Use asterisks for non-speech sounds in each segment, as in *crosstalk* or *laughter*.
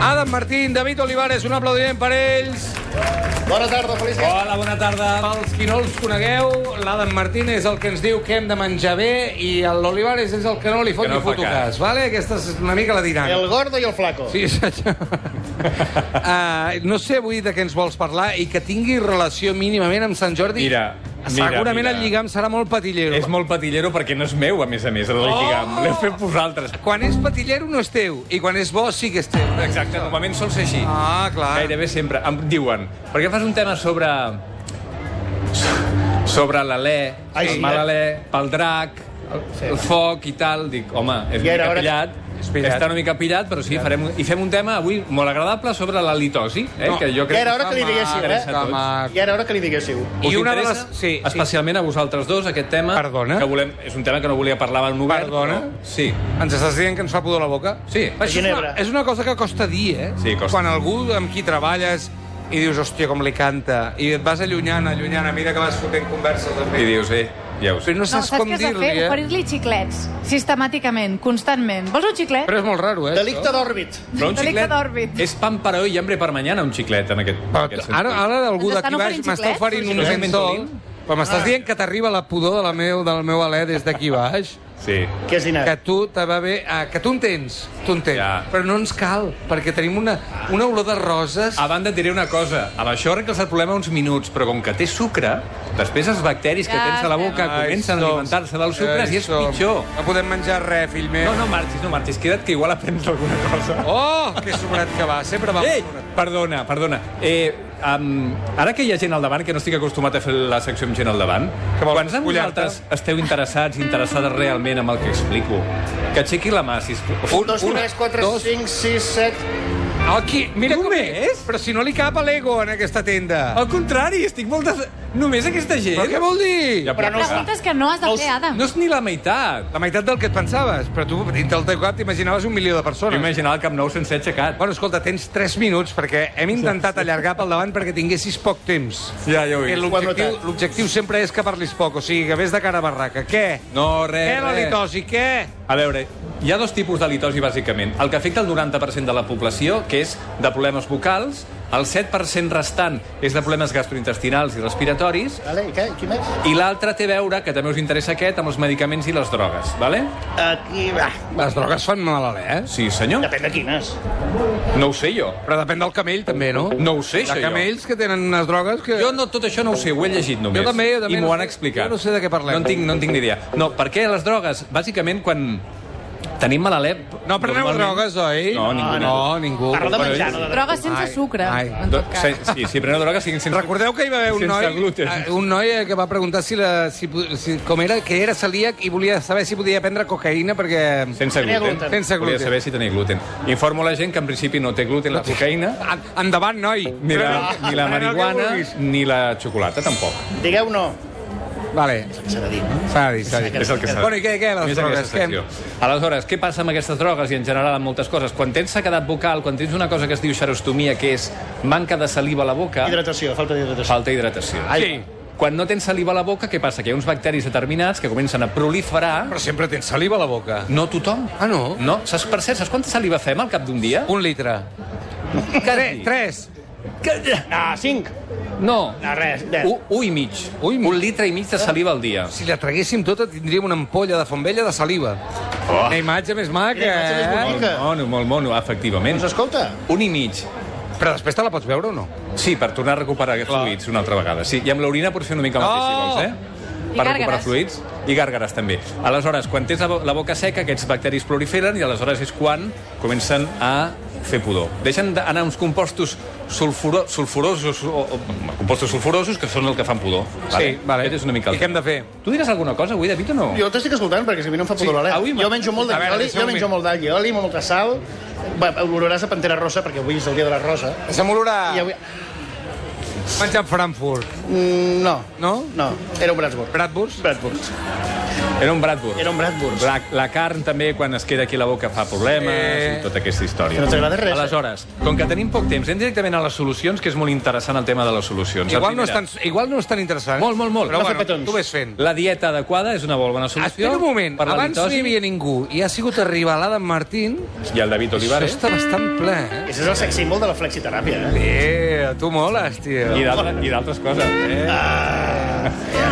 Adam Martín, David Olivares, un aplaudiment per ells. Bona tarda, feliç dia. Hola, bona tarda. Pels qui no els conegueu, l'Adam Martín és el que ens diu que hem de menjar bé i l'Olivares és el que no li fot Que no no ni fa foto cas. cas. Vale? Aquesta és una mica la dinàmica. El gordo i el flaco. Sí, *laughs* senyor. uh, no sé avui de què ens vols parlar i que tingui relació mínimament amb Sant Jordi. Mira, mira, Segurament mira. el lligam serà molt patillero. És molt patillero perquè no és meu, a més a més, el oh! lligam. L'heu fet vosaltres. Quan és patillero no és teu, i quan és bo sí que és teu. Exacte, normalment sol ser així. Ah, clar. Gairebé sempre. Em diuen, per què fas un tema sobre... sobre l'alè, Ai, el sí. mal alè, pel drac, el, el foc i tal? Dic, home, Ja és una era mica hora que- pillat. És pillat. Està una mica pillat, però sí, farem, un- i fem un tema avui molt agradable sobre la litosi, eh, no, que jo crec ja era hora que li diguéssiu, eh? interessa a tots. Maco. I ara, a veure que li diguéssiu. Us I una de interessa? les- sí, sí. especialment a vosaltres dos, aquest tema. Perdona? Que volem... És un tema que no volia parlar en obert. Perdona? Però... Sí. Ens estàs dient que ens fa pudor la boca? Sí. Això és una, Ginebra. és una cosa que costa dir, eh? Sí, costa. Quan algú amb qui treballes i dius, hòstia, com li canta, i et vas allunyant, allunyant, a mesura que vas fotent converses amb I ell. dius, eh, ja ho sé. Però no saps, saps com què has de dir-li, fer? eh? Oferir-li xiclets, sistemàticament, constantment. Vols un xiclet? Però és molt raro, eh? Delicte d'òrbit. Però un Delicte xiclet d'òrbit. és pan per hoy i hambre per mañana, un xiclet, en aquest, en Però aquest tu- ara, ara algú Ens d'aquí estan baix oferint m'està xiclets? oferint un Xiclets ocent sol. Ventolin? Però m'estàs dient que t'arriba la pudor de la meu, del meu alè des d'aquí baix? Sí. Que és dinar. Que tu te va bé... Ah, que tu en tens, tu en tens. Ja. Però no ens cal, perquè tenim una, una olor de roses... A banda, et diré una cosa. Amb això arregles el problema uns minuts, però com que té sucre, després els bacteris que Ja tens a la estem. boca Ai, comencen a som. alimentar-se dels Ai, sucres i és som. pitjor. No podem menjar res, fill meu. No, no marxis, no marxis. Queda't que igual aprens alguna cosa. Oh, que sobrat que va. Sempre va Ei, molt sobrat. perdona, perdona. Eh, um, ara que hi ha gent al davant, que no estic acostumat a fer la secció amb gent al davant, Que vols quants de follar-te? vosaltres esteu interessats, interessades realment amb el que explico? Que aixequi la mà, sisplau. Un, dos, una, tres, quatre, dos. cinc, sis, set... Aquí, mira com Només? és. Però si no li cap a l'ego en aquesta tenda. Al contrari, estic molt... Des... Només aquesta gent... Però què vol dir? Ja, però no, Preguntes que no has de Els- fer, Adam. no és ni la meitat. La meitat del que et pensaves. Però tu, dintre del teu cap, t'imaginaves un milió de persones. Imagina el Camp Nou sense aixecat. Bueno, escolta, tens 3 minuts, perquè hem intentat allargar pel davant perquè tinguessis poc temps. Ja, ja ho he Que vist. l'objectiu- L'objectiu sempre és que parlis poc, o sigui, que vés de cara a barraca. Què? No, eh, res, Què, Eh, la res. litosi, què? A veure, hi ha dos tipus de litosi, bàsicament. El que afecta el 90% de la població, que és de problemes vocals, el 7% restant és de problemes gastrointestinals i respiratoris, Vale, i què? Qui més? i l'altre té a veure, que també us interessa aquest, amb els medicaments i les drogues, vale? Aquí, va. Les drogues fan mal a l'alè, eh? Sí, senyor. Depèn de quines. No ho sé jo. Però depèn del camell, també, no? No ho sé, Hi ha això, camells que tenen unes drogues que... Jo no, tot això no ho sé, ho he llegit només. Jo també, jo també I no m'ho han sé- explicat. jo no sé de què parlem. No en tinc, no en tinc ni idea. No, per què les drogues? Bàsicament, quan tenim mal a l'ep... No preneu drogues, oi? Ah, No, ningú. No, ningú. Parla de menjar, no de droga. Drogues sense Ai, sucre. ai. en tot cas. Sí, sí, si preneu drogues, siguin sense... Recordeu que hi va haver un Sense noi, gluten. eh, un noi eh, que va preguntar si, la, si, po- si com era, que era celíac i volia saber si podia prendre cocaïna perquè... Sense Tenia gluten. gluten. Sense gluten. Volia saber si tenia gluten. Informo la gent que en principi no té gluten la cocaïna, En- Endavant, noi. ni la, Pren- ni la pren el que marihuana, vulguis. ni la xocolata, tampoc. Digueu no. Vale, S'ha de dir, no? s'ha de dir, s'ha de dir. És el que s'ha Bueno, i què, què, les Més drogues? aquesta secció. Què? Aleshores, què passa amb aquestes drogues i en general amb moltes coses? Quan tens sequedat vocal, quan tens una cosa que es diu xerostomia, que és manca de saliva a la boca, Hidratació, falta d'hidratació. falta hidratació. Sí. Quan no tens saliva a la boca, què passa? Que hi ha uns bacteris determinats que comencen a proliferar... Però sempre tens saliva a la boca. No tothom. Ah, no? No. Saps, per cert, saps quanta saliva fem al cap d'un dia? Un litre. Tre- Tres. Ah, cinc. No. No, res, deu. Un, un i mig. Ui, un litre Eh. i mig de saliva al dia. Si la traguéssim tota, tindríem una ampolla de Fontvella de saliva. Oh. Una imatge més maca, Una imatge més eh? bonica. Molt mono, molt mono, efectivament. Doncs escolta, Un i mig. Però després te la pots veure o no? Sí, per tornar a recuperar fluids una altra vegada. Sí, i amb l'orina pots fer una mica el mateix, Oh! si vols, eh? I per recuperar gàrgares. fluids i gàrgares també. Aleshores, quan tens la bo- la boca seca, aquests bacteris proliferen i aleshores és quan comencen a fer pudor. Deixen d'anar uns compostos sulfuro, sulfurosos, o, o, compostos sulfurosos que són el que fan pudor. Aquest és una mica el I què hem de fer? Tu diràs alguna cosa avui, David, o no? jo t'estic escoltant perquè és que a mi no em fa Sí, pudor l'alè. avui m'ha- Jo menjo molt A veure, d'allioli, deixa'm jo un menjo molt d'allioli, molt molta sal. Va, oloraràs a Pantera Rosa perquè avui és el dia de la rosa. Deixa'm olorar I avui... menjar Frankfurt, Mm, No, no? no, era un Bratsburg. Bratwurst? Bradford. Era un Bradburg. Era un Bradburg. La, la carn també, quan es queda aquí a la boca, fa problemes Eh. i tota aquesta història. Que no t'agrada res, eh? Aleshores, com que tenim poc temps, anem directament a les solucions, que és molt interessant el tema de les solucions. La Igual no, és primera, tan, igual no és tan interessant. Molt, molt, molt. Però No fer bueno, petons. tu ves fent. La dieta adequada és una molt bona solució. Espera un moment, Per la abans no litosi. hi havia ningú i ha sigut arribalada en Martín. I el David Això Olivares. està bastant ple, eh? Aquest és el sex símbol de la flexiteràpia, eh? Eh, tu moles, tio. I d'altre- I d'altres coses. Eh?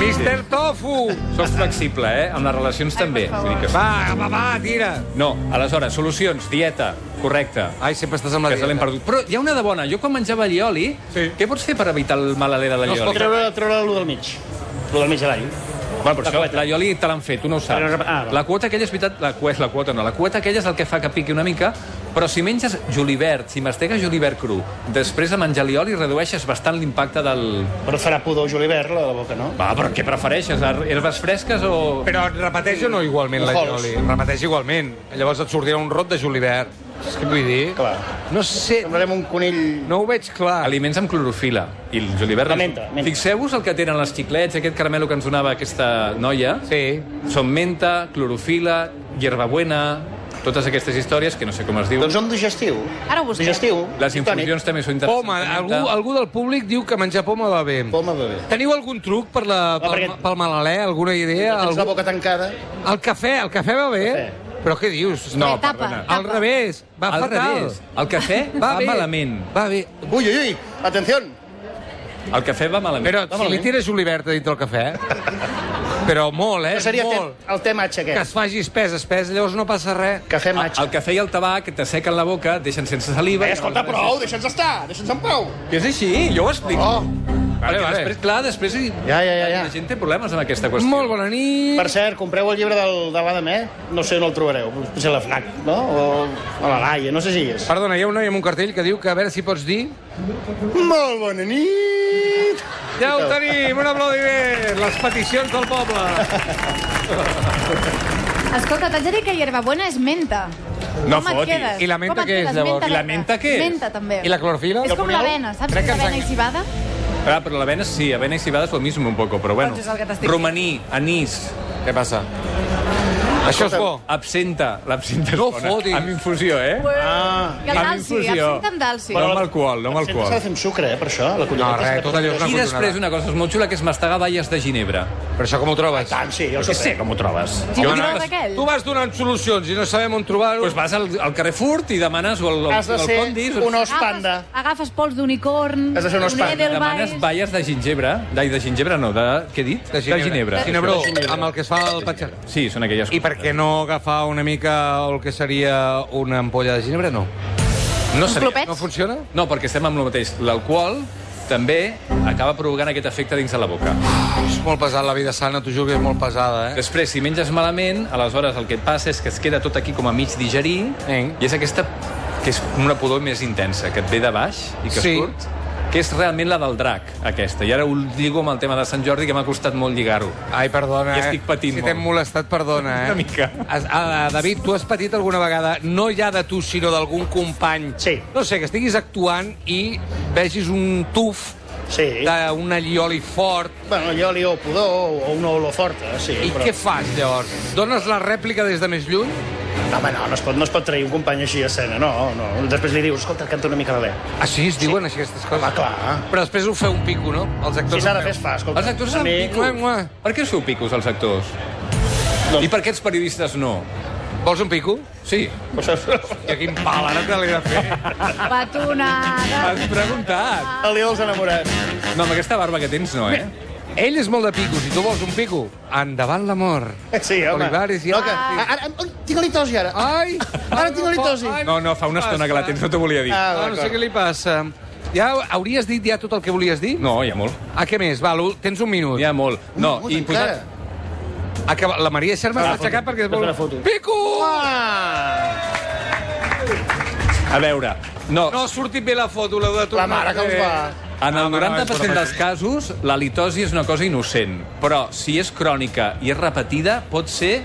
Mister Tofu! Soc flexible, eh? Amb les relacions també. favor. Vull dir que... Va, va, va, tira! No, aleshores, solucions, dieta, correcta. Ai, sempre estàs amb la Que se l'hem dieta. perdut. Però hi ha una de bona. Jo quan menjava allioli, Sí. què pots fer per evitar el mal alè de No es pot l'allioli? treure, treure lo del mig. Lo del mig de l'all. Bueno, però això... L'allioli te l'han fet, tu no ho saps. Però no- ah, va. la quota aquella és veritat... La, cu- la quota no, la quota aquella és el que fa que piqui una mica, però si menges julivert, si mastegues julivert cru, després de menjar allioli redueixes bastant l'impacte del... Però et farà pudor julivert, la de la boca, no? Va, però què prefereixes? her- Herbes fresques o... Però repeteix o no igualment la Ojols. Joli? Repeteix igualment. Llavors et sortirà un rot de julivert. És que vull dir... Clar. No sé, Semblarem un conill... no ho veig clar. Aliments amb clorofila. I el julivert... La menta, menta. Fixeu-vos el que tenen les xiclets, aquest caramelo que ens donava aquesta noia. Sí. Són menta, clorofila, hierbabuena, totes aquestes històries que no sé com es diu. Doncs un digestiu. Ara ho busquem. Digestiu. Les tònic. infusions també són interessants. Poma, algú, algú del públic diu que menjar poma va bé. Poma bebé. Teniu algun truc per la, No, pel, perquè- pel malalè? Alguna idea? Tens la Algú... boca tancada. El cafè, el cafè va bé? Cafè. Però què dius? No, Etapa. perdona. Al Ah, revés, va Al fatal. revés. El cafè va, *laughs* Va, bé. malament. Va bé. Ui, ui, ui! Atenció! El cafè va malament. Però si li malament. tires julivert a dintre el cafè... Però molt, eh? Que seria molt. aquest, el tema Que aixequet. es faci espès, espès, llavors no passa res. Cafè el, matxa. el cafè i el tabac t'assequen la boca, et deixen sense saliva... Eh, escolta, prou, deixa'ns estar, deixa'ns en pau. Que és així, jo ho explico. Oh. Vale, Vale, vale. Després, clar, després... hi- Ja, ja, ja, ja. La gent té problemes amb aquesta qüestió. Molt bona nit. Per cert, compreu el llibre del, de l'Adamé, no sé on el trobareu, potser a la FNAC, no? O a la Laia, no sé si hi és. Perdona, hi ha un noi amb un cartell que diu que a veure si pots dir... Molt bona nit! Ja ho tenim, un aplaudiment! Les peticions del poble. Escolta, t'haig de dir que hierbabuena és menta. No Com et fotis. quedes? I la menta Com et què és, quedes? llavors? Menta I la verda. menta què és? Menta, també. I la clorofila? És com Opineu? l'avena, saps? Crec que ens L'avena han- i cibada. Ah, però l'avena, sí, avena i cibada és el mismo un poco, però bueno. Doncs és el que t'estic Romaní, anís, Què passa? Això és bo. absenta. L'absenta és No bona. fotis. Amb infusió, eh? Ah, I el Amb dalsi, infusió. absenta amb dalsi. No amb alcohol, no amb Sempre s'ha de alcohol. fer amb sucre, eh, per això. La No, cullereta res, tot allò és una I després cotonada. una cosa és molt xula, que és mastegar valles de Ginebra. Però això com ho trobes? Tant, sí, jo ho Jo sé. com ho trobes. Si Jo no no- trobes aquell. Tu vas donant solucions i no sabem on trobar-ho. Doncs vas al, al Carrefour i demanes o al, al, Has de al ser Condis... un os Agafes- panda. Agafes pols d'unicorn, Has de ser un os panda. edelweiss... Demanes valles de gingebre. D'ai, de gingebre no, de... Què he dit? Ginebró, De Ginebra. amb el que es fa el patxar. Sí, són aquelles... I per què no agafar una mica el que seria una ampolla de ginebra? No. No, Uns seria- clopets? No funciona? no, perquè estem amb el mateix. L'alcohol també acaba provocant aquest efecte dins de la boca. És molt pesada la vida sana, t'ho juro que és molt pesada, eh? Després, si menges malament, aleshores el que et passa és que es queda tot aquí com a mig digerir Eh. i és aquesta que és una pudor més intensa, que et ve de baix i que Sí. surt, que és realment la del drac, aquesta. I ara ho lligo amb el tema de Sant Jordi, que m'ha costat molt lligar-ho. Ai, perdona, Ja eh? estic patint Si molt. t'hem molestat, perdona, eh? Una mica. Has, ah, David, tu has patit alguna vegada, no ja de tu, sinó d'algun company. Sí. No sé, que estiguis actuant i vegis un tuf Sí. d'un allioli fort. Bueno, jo li o pudor o una olor forta, sí. I què fas, llavors? Dones la rèplica des de més lluny? No, home, no, no es pot, no es pot trair un company així a escena, no, no. Després li dius, escolta, canta una mica l'alè. Així es diuen sí. aquestes coses. Va, clar. eh. Però després ho feu un pico, no? Els Si actors s'ha ho de fer, es fa, escolta. Els actors a s'han mi- pico. Mua, mua. Per què us feu picos, els actors? Doncs- I per què els periodistes no? feu. Vols un pico? Sí. I quin pal, ara te l'he de *laughs* fer. Batonada. *laughs* Has preguntat. El lío dels enamorats. *laughs* No, amb aquesta barba que tens no, eh? Ell és molt de pico, si tu vols un pico. Endavant l'amor. Sí, home. Olivares i- No, que... Ah. Ara, ara, ui, tinc-li tosi, ara. Ah, Ai! Ara tinc halitosi. Ai, No, no, fa una estona que la tens, no t'ho volia dir. Ah, Ah, no sé d'acord. què li passa. Ja hauries dit ja tot el que volies dir? No, hi ha molt. Ah, què més? Val, tens un minut. Hi ha molt. No, Ui, i encara. posar... Acaba... La Maria Xerma Fes s'ha la foto. aixecat perquè... es Fes vol- la foto. Pico! Ah! A veure, no, No ha sortit bé la foto, l'heu de La tornar. mare que us va... en el no, no, 90% és dels casos, la litosi és una cosa innocent. Però si és crònica i és repetida, pot ser eh,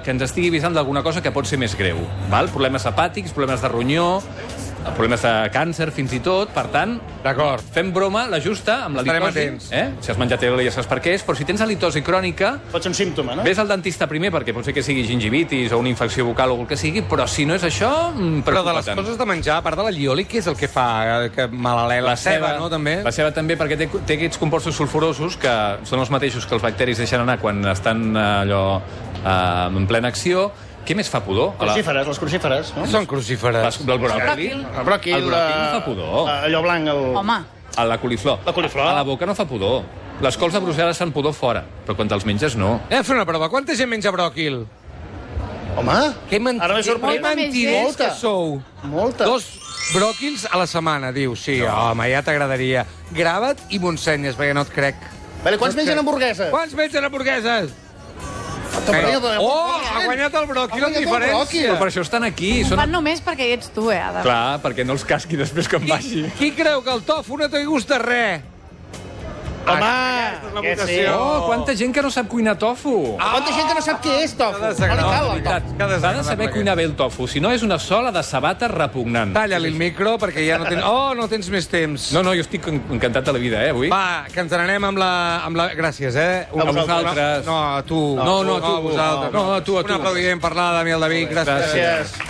que ens estigui avisant d'alguna cosa que pot ser més greu. Val? Problemes hepàtics, problemes de ronyó... problemes de càncer, fins i tot. Per tant, D'acord. fem broma, la justa, amb la Estarem litosi. atents. Eh? Si has menjat ELA ja saps per què és, però si tens halitosi crònica, Pot ser un símptoma, Eh? no? Ves al dentista primer, perquè pot ser que sigui gingivitis o una infecció bucal o el que sigui, però si no és això, mm, Però de les preocupa-te'n. coses de menjar, a part de la llioli, què és el que fa eh, que malaler? La, ceba, no, també? La ceba també, perquè té, té aquests compostos sulfurosos que són els mateixos que els bacteris deixen anar quan estan eh, allò eh, en plena acció. Què més fa pudor? A la- Crucíferes, les crucíferes, no? Són crucíferes. les- El bròcoli? bròquil. El bròquil, El bròquil no fa pudor. eh, Allò blanc, el... Home, A la coliflor. La coliflor. A la boca no fa pudor. Les cols de Brussel·les fan pudor fora, però quan te'ls menges no. Anem a fer Eh, una prova. Quanta gent menja bròquil? Home, Que men- ara m'he que sorprès. Molta més gent. mentiders que sou. Molta. Dos bròquils a la setmana, diu. Sí, home, ja t'agradaria. Grava't i m'ho ensenyes, perquè no et crec. Vale, quants mengen hamburgueses? Quants mengen hamburgueses? però- Oh, ha guanyat el bròquil eh? Ha en guanyat el diferència. Però per això estan aquí. Són... fan només perquè hi ets tu, eh, Adam? Clar, perquè no els casqui després que em baixi. Qui, qui creu que el tofu no té gust de res? Home, que sí. Oh, quanta gent que no sap cuinar tofu. Ah, Quanta gent que no sap què és tofu. No li cal el tofu. que S'ha de saber desagradable cuinar bé el tofu, si no és una sola de sabates repugnant. Talla-li el micro perquè ja no tens... Oh, no tens més temps. No, no, jo estic en- encantat de la vida, eh, avui. Va, que ens n'anem amb la... Amb la... Gràcies, eh? A vosaltres. No, a tu. No, no, a tu. No, a vosaltres. No, a tu, a tu. Un aplaudiment per l'Adam i el David. Gràcies. Gràcies. Gràcies.